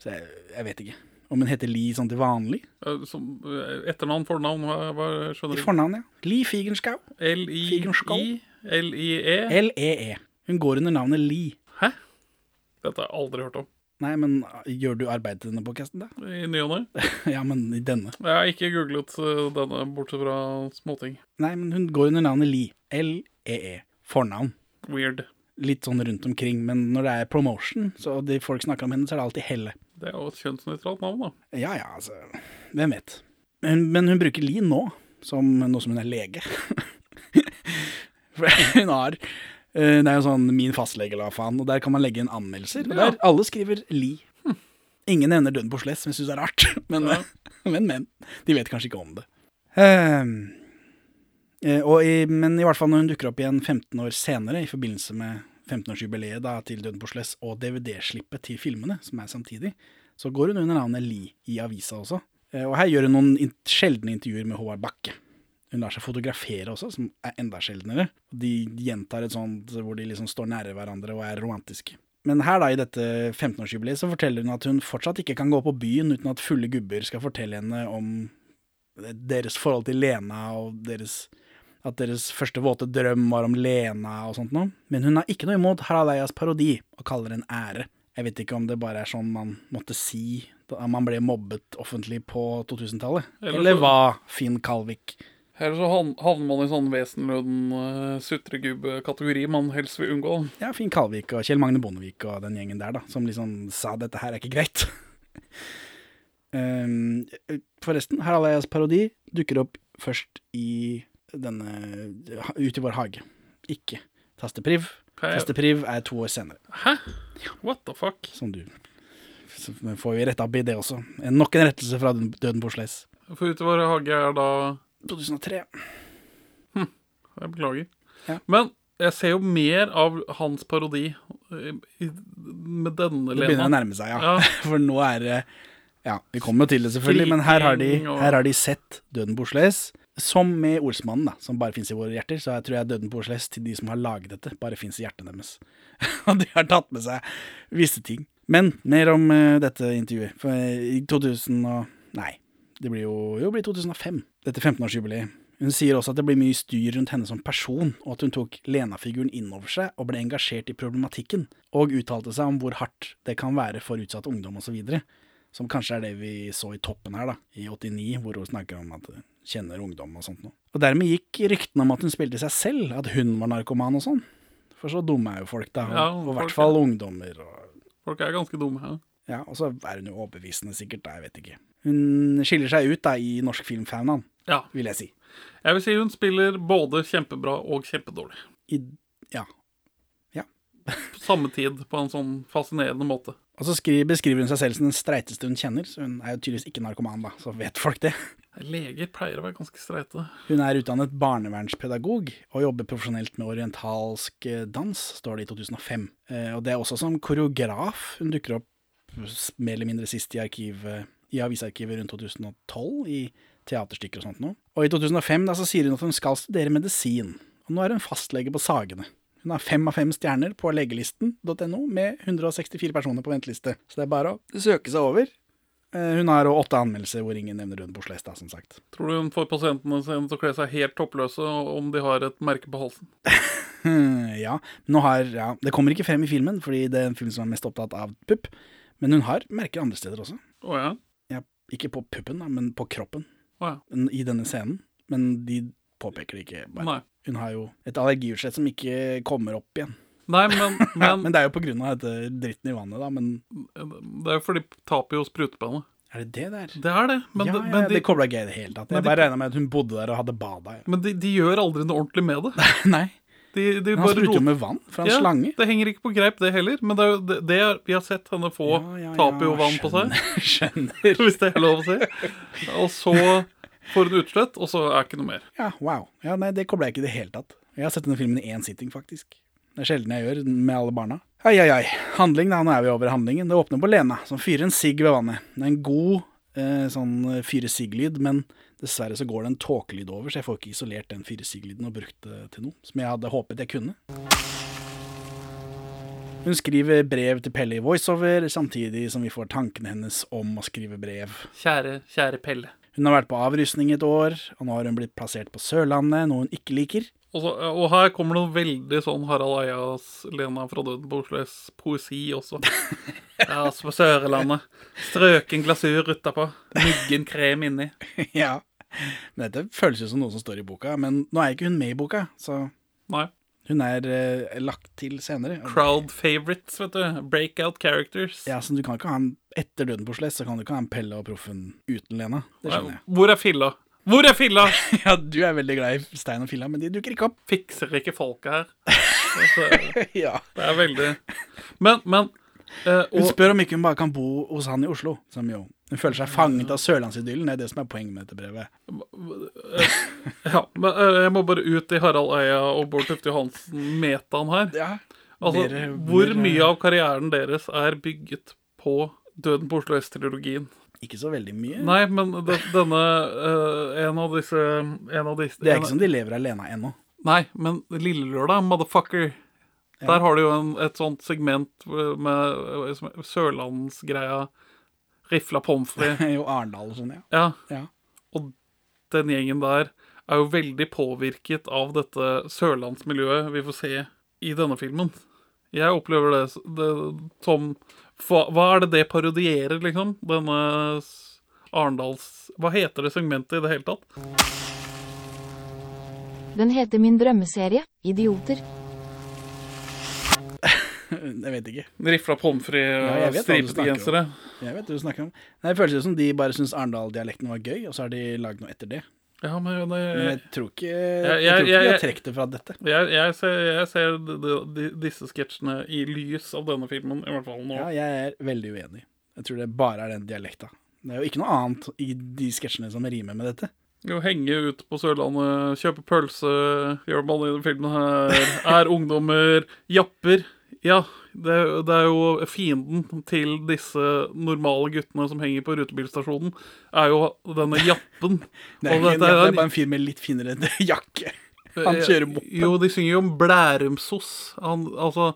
Så jeg, jeg vet ikke. Om hun heter Li sånn til vanlig? Eh, Som, eh, etternavn, fornavn, hva, hva I skjønner du? fornavn, ja. Li Figenschou. L-I-I? Figenschou. L-I-E? L-E-E. E Hun går under navnet Li. E? Hæ? Dette har jeg aldri hørt om. Nei, men eh, gjør du arbeid til denne podcasten da? I ny og ne. ja, men i denne. Jeg har ikke googlet eh, denne, bortsett fra småting. Nei, men hun går under navnet Li. L-E-E. E. Fornavn. Weird. Litt sånn rundt omkring, men når det er promotion, så og de folk snakker om henne, så er det alltid Helle. Det er jo et kjønnsnøytralt navn, da. Ja, ja, altså, hvem vet. Men, men hun bruker Li nå, som noe som hun er lege. For hun har, eh, det er jo sånn min fastlege la faen, og der kan man legge inn anmeldelser, og Ja. der alle skriver Li. Ingen nevner døden på sless, som jeg synes er rart, men, Ja. men, men, de vet kanskje ikke om det. Ehm, eh, og i, men i hvert fall når hun dukker opp igjen 15 år senere, i forbindelse med 15-årsjubileet da, til Døden på Sless og DVD-slippet til filmene, som er samtidig, så går hun under navnet Li i avisa også. Eh, Og her gjør hun noen in- sjeldne intervjuer med Håvard Bakke. Hun lar seg fotografere også, som er enda sjeldnere. De gjentar et sånt hvor de liksom står nære hverandre og er romantiske. Men her da, i dette 15-årsjubileet, så forteller hun at hun fortsatt ikke kan gå på byen uten at fulle gubber skal fortelle henne om deres forhold til Lena og deres at deres første våte drøm var om Lena og sånt noe. Men hun har ikke noe imot Harald Eias parodi og kaller det en ære. Jeg vet ikke om det bare er sånn man måtte si da man ble mobbet offentlig på 2000-tallet. Eller Eller så- hva, Finn Kalvik? Eller så han- havner man i sånn vesenløden uh, sutregubbe-kategori man helst vil unngå. Ja, Finn Kalvik og Kjell Magne Bondevik og den gjengen der, da, som liksom sa dette her er ikke greit. Ehm, forresten, Harald Eias parodi dukker opp først i denne Ute i vår hage. Ikke Tastepriv. Hva er- Tastepriv er to år senere. Hæ? What the fuck? som du så får vi retta opp i det også. En- Nok en rettelse fra den- Døden på Sleis. For ute i vår hage er da 2003. Jeg beklager. Ja. Men jeg ser jo mer av hans parodi eh, i, med denne Det begynner å Lena. nærme seg, ja. Ja. For nå er det Ja, vi kommer jo til det, selvfølgelig, men her har de, Skriking og- her har de sett Døden på Sleis. Som med Olsmannen, da, som bare fins i våre hjerter, så jeg tror jeg Døden på Sleis til de som har laget dette, bare fins i hjertet deres. Og de har tatt med seg visse ting. Men mer om eh, dette intervjuet. For eh, i 2000 og Nei, det blir jo, jo det blir 2005. Dette 15-årsjubileet. Hun sier også at det blir mye styr rundt henne som person, og at hun tok Lena-figuren inn over seg og ble engasjert i problematikken, og uttalte seg om hvor hardt det kan være for utsatt ungdom osv. Som kanskje er det vi så i toppen her, da, i 89, hvor hun snakker om at hun kjenner ungdom og sånt noe. Og dermed gikk ryktene om at hun spilte seg selv, at hun var narkoman og sånn. For så dumme er jo folk, da. Ja, og i folk hvert er- fall ungdommer. og Folk er ganske dumme. Ja. ja, og så er hun jo overbevisende sikkert, da, jeg vet ikke. Hun skiller seg ut da i norsk filmfaunaen, ja. vil jeg si. Jeg vil si hun spiller både kjempebra og kjempedårlig. I, ja. På samme tid, på en sånn fascinerende måte. Og så skri, beskriver hun seg selv som den streiteste hun kjenner, så hun er jo tydeligvis ikke narkoman, da, så vet folk det. Leger pleier å være ganske streite. Hun er utdannet barnevernspedagog og jobber profesjonelt med orientalsk eh, dans, står det i 2005. Eh, Og det er også som koreograf hun dukker opp s- mer eller mindre sist i, arkivet, i avisarkivet rundt 2012, i teaterstykker og sånt noe. Og i 2005 da, så sier hun at hun skal studere medisin, og nå er hun fastlege på Sagene. Hun har fem av fem stjerner på legelisten.no med 164 personer på venteliste, så det er bare å søke seg over. Eh, Hun har også åtte anmeldelser hvor ingen nevner hun på Slestad, som sagt. Tror du hun får pasientene sine til å kle seg helt toppløse om de har et merke på halsen? Hmm, ja. Nå har, ja. Det kommer ikke frem i filmen, fordi det er en film som er mest opptatt av pupp. Men hun har merker andre steder også. Å ja. Ja, ikke på puppen, da, men på kroppen Å ja. n- i denne scenen. Men de påpeker det ikke. Bare. Nei. Hun har jo et allergiutslett som ikke kommer opp igjen. Nei, men, men Men det er jo på grunn av dette dritten i vannet, da. Men det er jo fordi de taper jo sprutebenet. er det det der? Det er det. Men, ja, det- ja, men, det de, kobla ikke jeg i det hele tatt. men Jeg de- bare regna med at hun bodde der og hadde bada. Ja. men de, de gjør aldri noe ordentlig med det. Nei. De, de Men han bare spruter jo roter- med vann fra en Ja, slange. Det henger ikke på greip, det heller. Men det er jo det, det er, vi har sett henne få Ja, ja, taper jo ja, vann på seg. Skjønner. Hvis det er lov å si. Og så får hun utslett, og så er ikke noe mer. Ja, wow. Ja, nei, det kobla jeg ikke i det hele tatt. Jeg har sett denne filmen i én sitting, faktisk. Det er sjelden jeg gjør med alle barna. Ai, ai, ai. Handling, da. Nå er vi over handlingen. Det åpner på Lena, som fyrer en sigg ved vannet. Det er en god eh, sånn eh, fyre-sigg-lyd, men dessverre så går det en tåkelyd over, så jeg får ikke isolert den fyre-sigg-lyden og brukt det til noe, som jeg hadde håpet jeg kunne. Hun skriver brev til Pelle i voiceover, samtidig som vi får tankene hennes om å skrive brev. Kjære, kjære Pelle. Hun har vært på avrusning et år, og nå har hun blitt plassert på Sørlandet, noe hun ikke liker. Og, så, og her kommer det noe veldig sånn Harald Eias Lena fra døden på Oslos poesi også. Ja, altså på Sørlandet. Strøken glasur utapå, myggen krem inni. ja. Men dette føles jo som noe som står i boka, men nå er ikke hun med i boka, så Nei. hun er eh, lagt til senere. Crowd favorites, vet du. Breakout characters. Ja, så du kan ikke ha en etter døden på Sless, så kan du ikke ha en Pelle og Proffen uten Lena. Det skjønner jeg. Hvor er filla? Hvor er filla? Ja, du er veldig glad i Stein og Filla, men de dukker ikke opp. Fikser ikke folket her. Altså, ja. Det er veldig Men, men eh, Hun og, spør om ikke hun bare kan bo hos han i Oslo, som jo Hun føler seg fanget av sørlandsidyllen, det er det som er poenget med dette brevet. ja, men eh, Jeg må bare ut i Harald Eia og Bård Tufte Johansen-metaen her. Ja. Altså, Mer- Hvor mer- mye av karrieren deres er bygget på Døden på Oslo S-trilogien? Ikke så veldig mye. Nei, men de, denne eh, En av disse en av disse, Det er ikke som de lever alene ennå. Nei, men Lille Lørdag, motherfucker. Der har du jo en, et sånt segment eh, med som er sørlandsgreia. Rifla pommes frites. Jo, Arendal og sånn, ja. Ja. Ja. Og den gjengen der er jo veldig påvirket av dette sørlandsmiljøet vi får se i denne filmen. Jeg opplever det, s- det som hva, hva er det det parodierer, liksom? Denne s- Arendals Hva heter det segmentet i det hele tatt? Den heter Min drømmeserie, Idioter. Jeg vet ikke. Rifla pommes frites, Ja, jeg vet hva du stripete snakker om. gensere. Jeg vet det du snakker om. Nei, Det føles jo som de bare syns Arendal-dialekten var gøy, og så har de lagd noe etter det. Ja, men det, Men jeg tror ikke, jeg, Eh, jeg- tror ikke de jeg- har trukket det fra dette. jeg, jeg ser, jeg ser de, de, de, disse sketsjene i lys av denne filmen, i hvert fall nå. Ja, jeg er veldig uenig. Jeg tror det bare er den dialekta. Det er jo ikke noe annet i de sketsjene som rimer med dette. Jo, henge ut på Sørlandet, kjøpe pølse, gjør man i den filmen her, er ungdommer, japper. Ja, det, det er jo fienden til disse normale guttene som henger på rutebilstasjonen, er jo denne jappen. Det er, Og ikke, en dette er jakke, det er en- bare en fyr med litt finere jakke. Han kjører moppe. Eh, Jo, de synger jo om Blærumsos. Han, altså,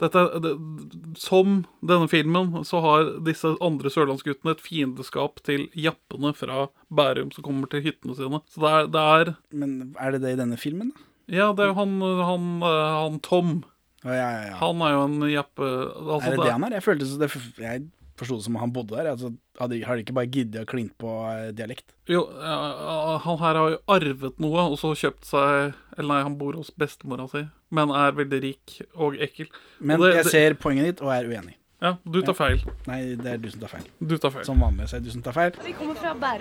dette, det, som denne filmen, så har disse andre sørlandsguttene et fiendeskap til jappene fra Bærum som kommer til hyttene sine. Så det er, det er Men er det det i denne filmen, da? Ja, det er jo han, han, eh, han Tom. Å, ja, ja, ja. Han er jo en jappe... Altså, Er det det han er? Jeg følte så det, jeg forsto det som om han bodde der. Altså, hadde, har de ikke bare giddet å kline på eh, dialekt? Jo, eh, han her har jo arvet noe, og så kjøpt seg Eller nei, han bor hos bestemora si, men er veldig rik og ekkel. Men og det, jeg ser poenget ditt og er uenig. Ja, du tar feil. Nei, det er du som tar feil. Du tar feil. Som vanlig så er det du som tar feil. Ja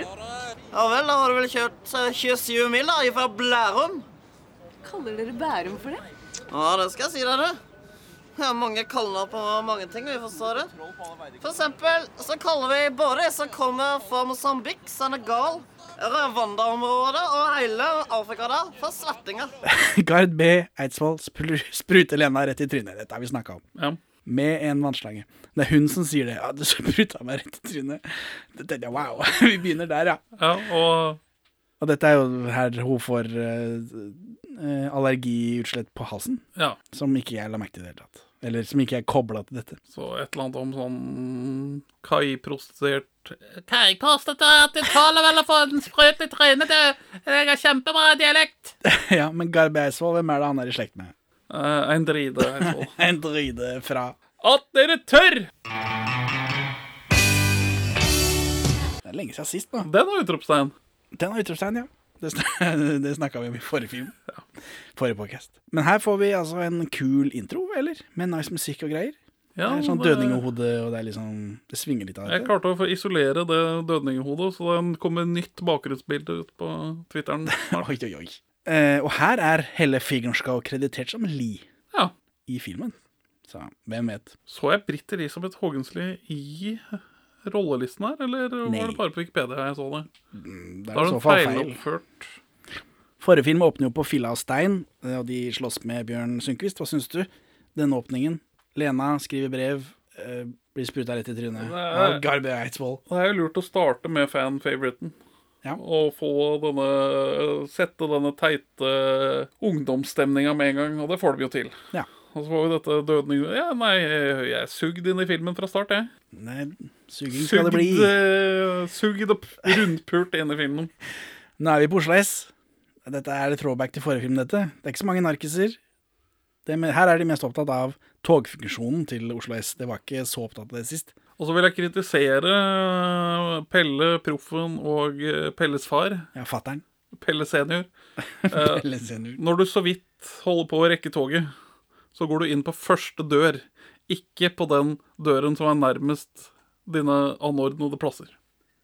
vel, da har du vel kjørt eh, 27 mil da, fra Blærum? Kaller dere Bærum for det? Ja, det skal jeg si deg, du. Vi har mange kallenavn på mange ting vi forstår. For eksempel så kaller vi Båre, som kommer fra Mosambik, Senegal, Rwanda-området og hele Afrika der, for svettinger. Gard B. Eidsvoll spru- spruter Lena rett i trynet. Dette har vi snakka om. Ja. Med en vannslange. Det er hun som sier det. Ja, du spruta meg rett i trynet. Det tenkte jeg, Wow. Vi begynner der, ja. ja, og Og dette er jo her hun får eh, eh, allergiutslett på halsen, ja. som ikke jeg la merke til i det hele tatt. Eller som ikke er kobla til dette. Så et eller annet om sånn kaiprostituert Kaikostetat, du taler vel å få en sprøyt i trynet, du! Jeg har kjempebra dialekt! ja, Men Garb Eidsvoll, hvem er det han er i slekt med? Eh, en dride, Eidsvoll. En druide fra At dere tør! Det er lenge siden sist, nå. Den har utropstegn. Den har utropstegn, ja. Det, sn- det snakka vi om i forrige film. Forrige podcast. Men her får vi altså en kul intro, eller? Med nice musikk og greier. Ja, eh, Det er sånn det- dødninghode, og det er liksom Det svinger litt av Jeg dette. klarte å få isolere det dødninghodet, så det kommer nytt bakgrunnsbilde ut på Twitteren snart. Oi, oi, oi. Eh, og her er Helle Figernskau kreditert som Lee Ja. i filmen. Så hvem vet. Så jeg Britt Elisabeth Haagensli i rollelisten her, eller Nei. var det bare på Wikipedia jeg så det? Det Da er i har så hun fall feil. feiloppført. Forrige film åpner jo på filla av stein, eh, og de slåss med Bjørn Sundquist. Hva syns du? Den åpningen. Lena skriver brev, eh, blir spruta rett i trynet. Nei. av Garbe Eidsvoll. Det er jo lurt å starte med fan-favoriten. Ja. Og få denne, sette denne teite ungdomsstemninga med en gang, og det får de jo til. Ja. Og så får vi dette dødning... Ja, nei, jeg er sugd inn i filmen fra start, jeg. Nei, suging skal Sugd, det bli. eh, sugd og p- rundpult inn i filmen. Nå er vi på Oslo S. Dette er det throwback til forrige film, dette. Det er ikke så mange narkiser. Det, men her er de mest opptatt av togfunksjonen til Oslo S. Det var ikke så opptatt av det sist. Og så vil jeg kritisere eh, Pelle Proffen og eh, Pelles far, Ja, fatter'n. Pelle senior. Eller senior. Når du så vidt holder på å rekke toget, så går du inn på første dør, ikke på den døren som er nærmest dine anordnede plasser.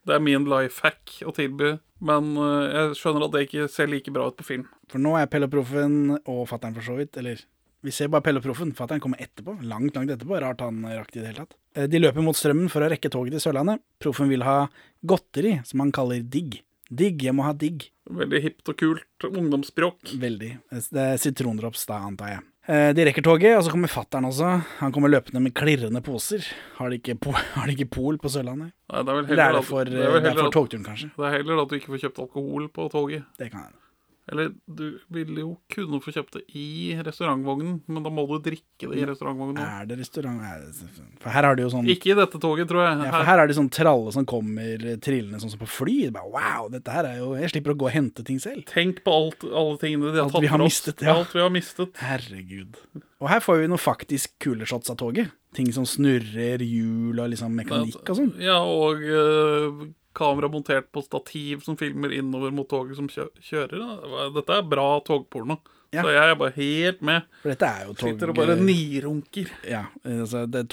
Det er min life hack å tilby, men eh, jeg skjønner at det ikke ser like bra ut på film. For nå er Pelle og Proffen og fatter'n for så vidt, eller vi ser bare Pelle og Proffen. Fatter'n kommer etterpå. Langt, langt etterpå. Rart han rakk det i det hele tatt. Eh, De løper mot strømmen for å rekke toget til Sørlandet. Proffen vil ha godteri, som han kaller digg. Digg, jeg må ha digg. Veldig hipt og kult ungdomsspråk. Veldig. Det er sitrondrops da, antar jeg. Eh, De rekker toget, og så kommer fatter'n også. Han kommer løpende med klirrende poser. Har de ikke, po har de ikke pol på Sørlandet? Nei, det er vel Eller heller, er det at- for, det er det vel er heller for at- togturen, kanskje? det er heller at du ikke får kjøpt alkohol på toget. Det kan hende. Eller du ville jo kunne få kjøpt det i restaurantvognen, men da må du drikke det i restaurantvognen. også. Er det restaurant Nei, det- For her har de jo sånn Ikke i dette toget, tror jeg. Ja, for Her- her er det sånn tralle som kommer eh, trillende sånn som på fly. Det er Bare, wow, dette her er jo Jeg slipper å gå og hente ting selv. Tenk på alt, alle tingene de har Alt tatt vi har fra oss. mistet, ja. Alt vi har mistet. Herregud. Og her får vi noe faktisk kule shots av toget. Ting som snurrer, hjul og liksom mekanikk og sånn. Ja, og eh, kamera montert på stativ som filmer innover mot toget som kjø kjører. da. Dette er bra togporno. Ja. Så jeg er bare helt med. For dette er jo tog... eh, Sitter og bare nirunker. Ja, altså, det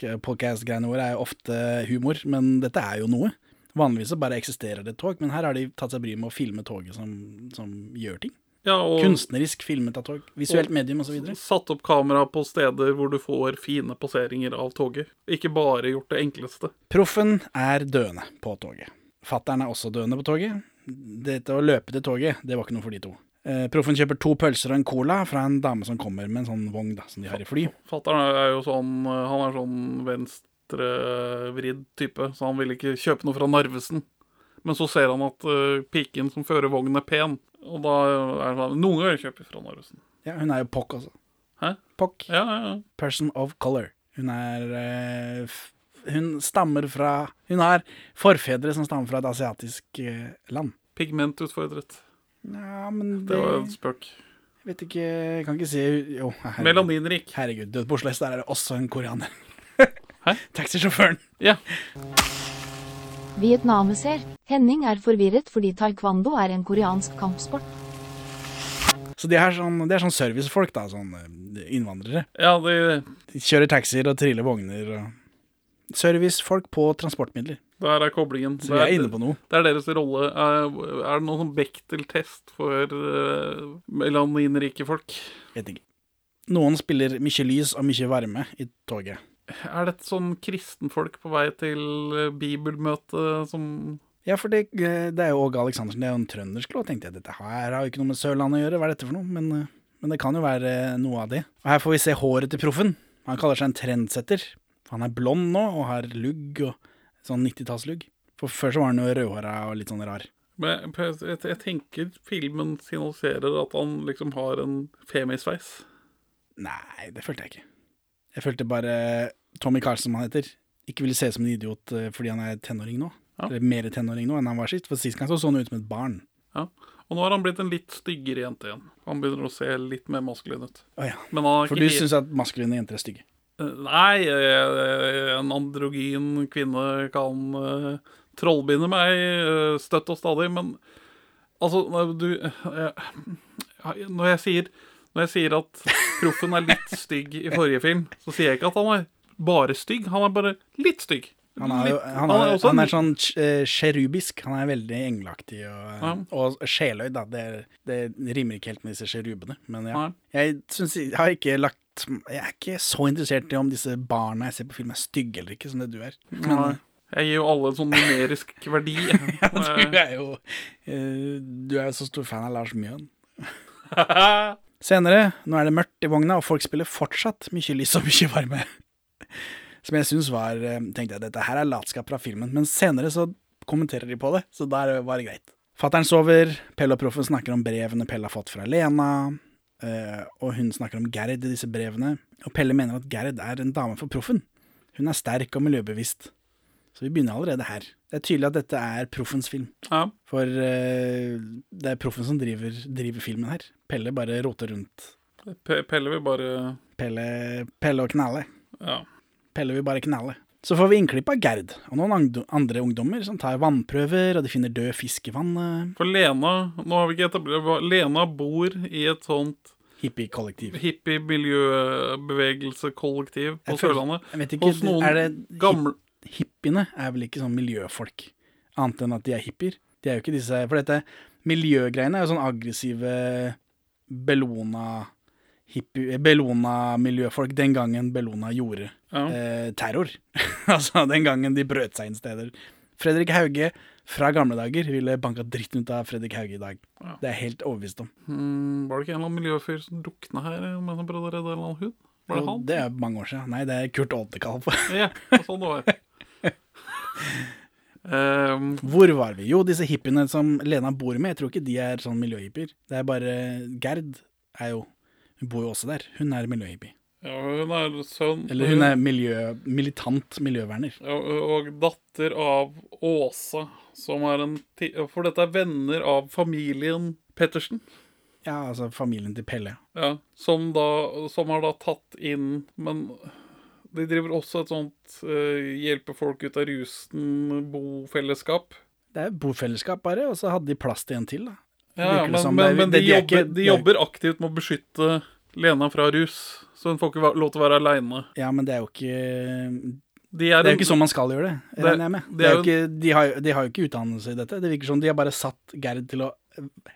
Togpodcast-greiene våre er jo ofte humor, men dette er jo noe. Vanligvis så bare eksisterer det et tog, men her har de tatt seg bryet med å filme toget som, som gjør ting. Ja, og Kunstnerisk filmet av tog. Visuelt medium osv. satt opp kamera på steder hvor du får fine passeringer av toget. Ikke bare gjort det enkleste. Proffen er døende på toget. Fattern er også døende på toget. Dette å løpe til toget, det var ikke noe for de to. Eh, proffen kjøper to pølser og en cola fra en dame som kommer med en sånn vogn da, som de har i fly. Fattern er jo sånn eh, Han er sånn venstrevridd type, så han vil ikke kjøpe noe fra Narvesen. Men så ser han at eh, piken som fører vognen, er pen, og da er han sånn Noen ganger kjøper jeg fra Narvesen. Ja, hun er jo pokk også. Hæ? Pokk. Ja, ja, ja. Person of color. Hun er eh, f Hun stammer fra Hun har forfedre som stammer fra et asiatisk eh, land. Pigmentutfordret. Ja, men det, Det var en spøk. Jeg vet ikke Jeg kan ikke si Jo, herregud. Melaninrik. Herregud, Død på Oslo S, der er det også en koreaner. Hæ? Taxisjåføren. Ja. Vietnameser. Henning er forvirret fordi taekwondo er en koreansk kampsport. Så de er sånn, de er sånn servicefolk, da. Sånn eh, innvandrere. Ja, det De kjører taxier og triller vogner og Servicefolk på transportmidler. der er koblingen. Så vi er inne på noe. Det er deres rolle. Er, er det noen sånn Bechtel-test for eh, melaninrike folk? Vet ikke. Noen spiller mye lys og mye varme i toget. Er det et sånn kristenfolk på vei til eh, bibelmøte som Ja, for det, eh, det er jo Åge Aleksandersen, det er jo en trøndersk låt. Tenkte jeg, dette her har jo ikke noe med Sørlandet å gjøre, hva er dette for noe? Men, eh, men det kan jo være eh, noe av det. Og her får vi se håret til proffen. Han kaller seg en trendsetter. Han er blond nå og har lugg, og sånn 90-tallslugg. For før så var han jo rødhåra og litt sånn rar. Men jeg, jeg, jeg tenker filmen signaliserer at han liksom har en femisveis. Nei, det følte jeg ikke. Jeg følte bare Tommy Carlsen, som han heter, ikke ville se ut som en idiot eh, fordi han er tenåring nå. Ja. Eller mer tenåring nå enn han var sist, for sist gang så så han ut som et barn. Ja. Og nå har han blitt en litt styggere jente igjen. Han begynner å se litt mer maskulin ut. Å ja. Men han er For ikke du helt- syns at maskuline jenter er stygge. Nei, eh, en androgyn kvinne kan eh, trollbinde meg eh, støtt og stadig, men altså når du eh, Når jeg sier, når jeg sier at proffen er litt stygg i forrige film, så sier jeg ikke at han er bare stygg, han er bare litt stygg. Han er, jo, Litt- han er, også en- han er sånn eh, cherubisk. Han er veldig engleaktig og, Ja. og sjeløyd, da. Det, det rimer ikke helt med disse cherubene, men ja. Nei. Jeg, synes, jeg har ikke lagt Jeg er ikke så interessert i om disse barna jeg ser på film, er stygge eller ikke, som det du er. Men, Nei. Jeg gir jo alle en sånn numerisk verdi. Du er jo eh, Du er jo så stor fan av Lars Mjøen. Eh, Senere, nå er det mørkt i vogna, og folk spiller fortsatt mye lys og mye varme. Som jeg syns var eh, Tenkte jeg dette her er latskap fra filmen, men senere så kommenterer de på det, så der var det greit. Fattern sover, Pelle og Proffen snakker om brevene Pelle har fått fra Lena, eh, og hun snakker om Gerd i disse brevene, og Pelle mener at Gerd er en dame for Proffen. Hun er sterk og miljøbevisst. Så vi begynner allerede her. Det er tydelig at dette er Proffens film. ja. For eh, det er proffen som driver, driver filmen her. Pelle bare roter rundt. Pe- Pelle vil bare Pelle, Pelle og knalle. Ja. Pelle vil bare knalle. Så får vi innklipp av Gerd og noen angdo- andre ungdommer som tar vannprøver, og de finner død fisk i vannet. For Lena Nå har vi ikke etablert hva- Lena bor i et sånt Hippiekollektiv. hippie-miljøbevegelsekollektiv på Jeg føler- Sørlandet. Jeg vet ikke, Hos noen er det gamle hippiene er vel ikke sånn miljøfolk, annet enn at de er hippier. De er jo ikke disse For dette miljøgreiene er jo sånn aggressive Bellona hippie- eh, Bellona-miljøfolk den gangen Bellona gjorde Ja. eh, terror. altså den gangen de brøt seg inn steder. Fredrik Hauge fra gamle dager ville banka dritten ut av Fredrik Hauge i dag. Ja. Det er jeg helt overbevist om. hmm, Var det ikke en eller annen miljøfyr som drukna her eh, mens han prøvde å redde en eller annen hund? Var det Og han? det er mange år siden. Nei, det er Kurt Oddekalv. Ja, det var sånn det var. Ehm, Hvor var vi? Jo, disse hippiene som Lena bor med, jeg tror ikke de er sånn miljøhippier. Det er bare Gerd er jo Hun bor jo også der. Hun er miljøhippie. ja, hun er sønn Eller hun er miljø, militant miljøverner. ja, Og datter av Åsa, som er en ti For dette er venner av familien Pettersen. Ja, altså familien til Pelle. Ja, som, da, som har da tatt inn Men de driver også et sånt eh, hjelpe folk ut av rusen, bofellesskap. Det er bofellesskap, bare, og så hadde de plass til en til, da. Ja, Virker det men, som. Det men, er- men de, det- de er jobber, ikke- de jobber aktivt med å beskytte Lena fra rus, så hun får ikke va- lov til å være aleine. Ja, men det er jo ikke De Det er, er jo en- ikke sånn man skal gjøre det, regner jeg med. det Det er er jo ikke, de, har, jo- de har jo ikke utdannelse i dette. Det virker som de har bare satt Gerd til å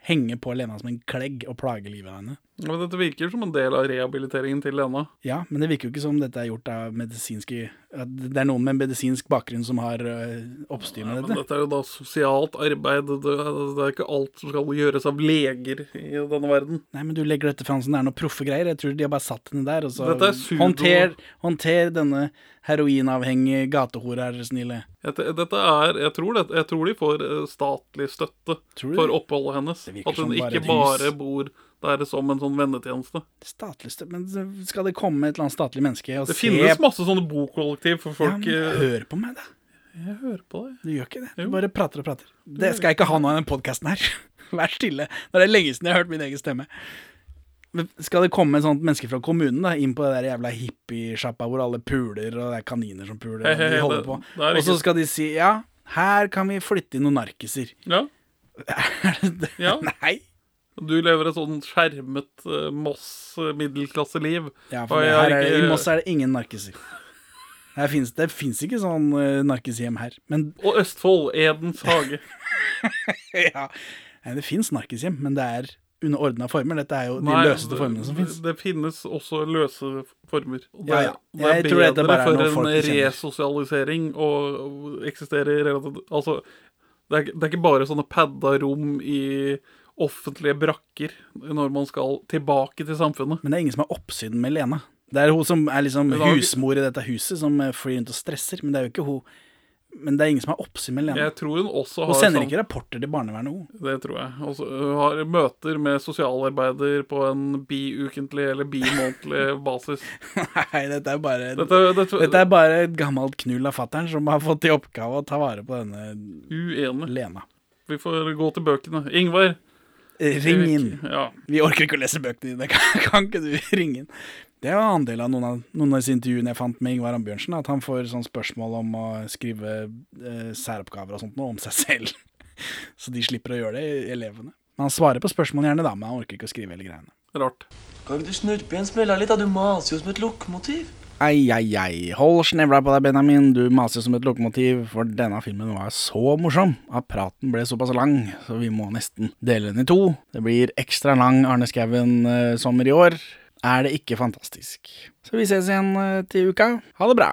henge på Lena som en klegg og plage livet av henne. Men Dette virker som en del av rehabiliteringen til Lena. Ja, men det virker jo ikke som dette er gjort av medisinske at Det er noen med medisinsk bakgrunn som har øh, oppstyr med Men dette. dette er jo da sosialt arbeid. Det, det er ikke alt som skal gjøres av leger i denne verden. Nei, men du legger dette fram som det er noen proffe greier. Jeg tror de har bare satt henne der, og så Dette er pseudo- håndter, håndter denne heroinavhengige gatehora, er dere snille. Dette, dette er, jeg, tror det, jeg tror de får eh, statlig støtte Tror du for det? oppholdet hennes. Det virker At hun som bare ikke et hus. bare bor der som en sånn vennetjeneste. Statlig støtte Men skal det komme et eller annet statlig menneske og Det se finnes masse sånne bokollektiv for ja, folk men, eh, Hør på meg, da. Jeg hører på deg. Du gjør ikke det. Du Jo. bare prater og prater. Det skal jeg ikke ha nå i den podkasten her. Vær stille. Det er lenge siden jeg har hørt min egen stemme. Men skal det komme et sånt menneske fra kommunen da, inn på det der jævla hippiesjappa hvor alle puler, og det er kaniner som puler, og Hei, hei, de holder det- på, det er og så ikke- skal de si ja, her kan vi flytte inn noen narkiser. Ja. Er det det? Ja. Nei. Du lever et sånn skjermet eh, Moss-middelklasseliv. Ja, Og for det jeg her har er, ikke- I Moss er det ingen narkiser. Her finnes, det fins ikke sånn eh, narkishjem her. Men Og Østfold, Edens hage. ja, nei, det fins narkishjem, men det er under ordna former. Dette er jo de Nei, løseste formene som fins. Det finnes også løse former. Og Ja, ja. det er Jeg tror dette bedre bare er for noe en folk kjenner. resosialisering å eksistere relativt Altså, det er, ikke- det er ikke bare sånne padda rom i offentlige brakker når man skal tilbake til samfunnet. Men det er ingen som har oppsyn med Lena. Det er hun som er liksom Men da- husmor i dette huset, som eh, flyr rundt og stresser. Men det er jo ikke hun. Men det er ingen som har oppsyn med Lena. Jeg tror hun også har Hun sender sånn- ikke rapporter til barnevernet, hun. Det tror jeg. Og så hun har møter med sosialarbeider på en biukentlig eller bimånedlig basis. Nei, dette er bare Dette, dette, Dette er bare et gammelt knull av fattern som har fått i oppgave å ta vare på denne uenig. Lena. Vi får gå til bøkene. Ingvar. Ring inn. Ja. Vi orker ikke å lese bøkene dine, kan, kan ikke du ringe inn? Det var en del av noen av, noen av disse intervjuene jeg fant med Ingvar Ambjørnsen, at han får sånn spørsmål om å skrive eh, særoppgaver og sånt noe om seg selv. Så de slipper å gjøre det, elevene. Men han svarer på spørsmål gjerne da, men han orker ikke å skrive hele greiene. Rart. Kan ikke du snurpe igjen smella litt? da? Du maser jo som et lokomotiv. Ei, ei, ei, hold snevla på deg, Benjamin, du maser som et lokomotiv, for denne filmen var så morsom at praten ble såpass lang, så vi må nesten dele den i to. Det blir ekstra lang Arne Skouen-sommer i år. Er det ikke fantastisk? Så vi ses igjen eh, til uka. Ha det bra!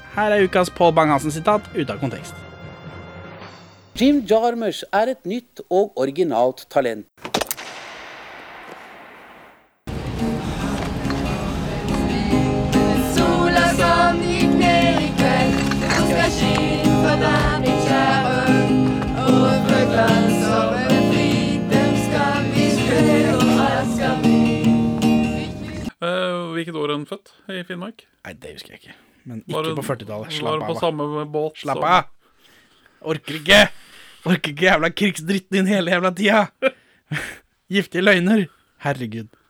Her er ukas Pål Bang-Hansen-sitat ute av kontekst. Jim Jarmers er et nytt og originalt talent. Sola som gikk ned i kveld, nå skal skinn for deg, min kjære. Og fuglene som er fri, dem skal vi spille, og alt skal bli. Eh, hvilket år er hun født i Finnmark? Nei, det husker jeg ikke. Men Var ikke hun- på 40-tallet. Var Slapp hun av. på da. samme båt? Slapp som- av! Orker ikke! Orker ikke jævla krigsdritten din hele jævla tida! Giftige løgner! Herregud.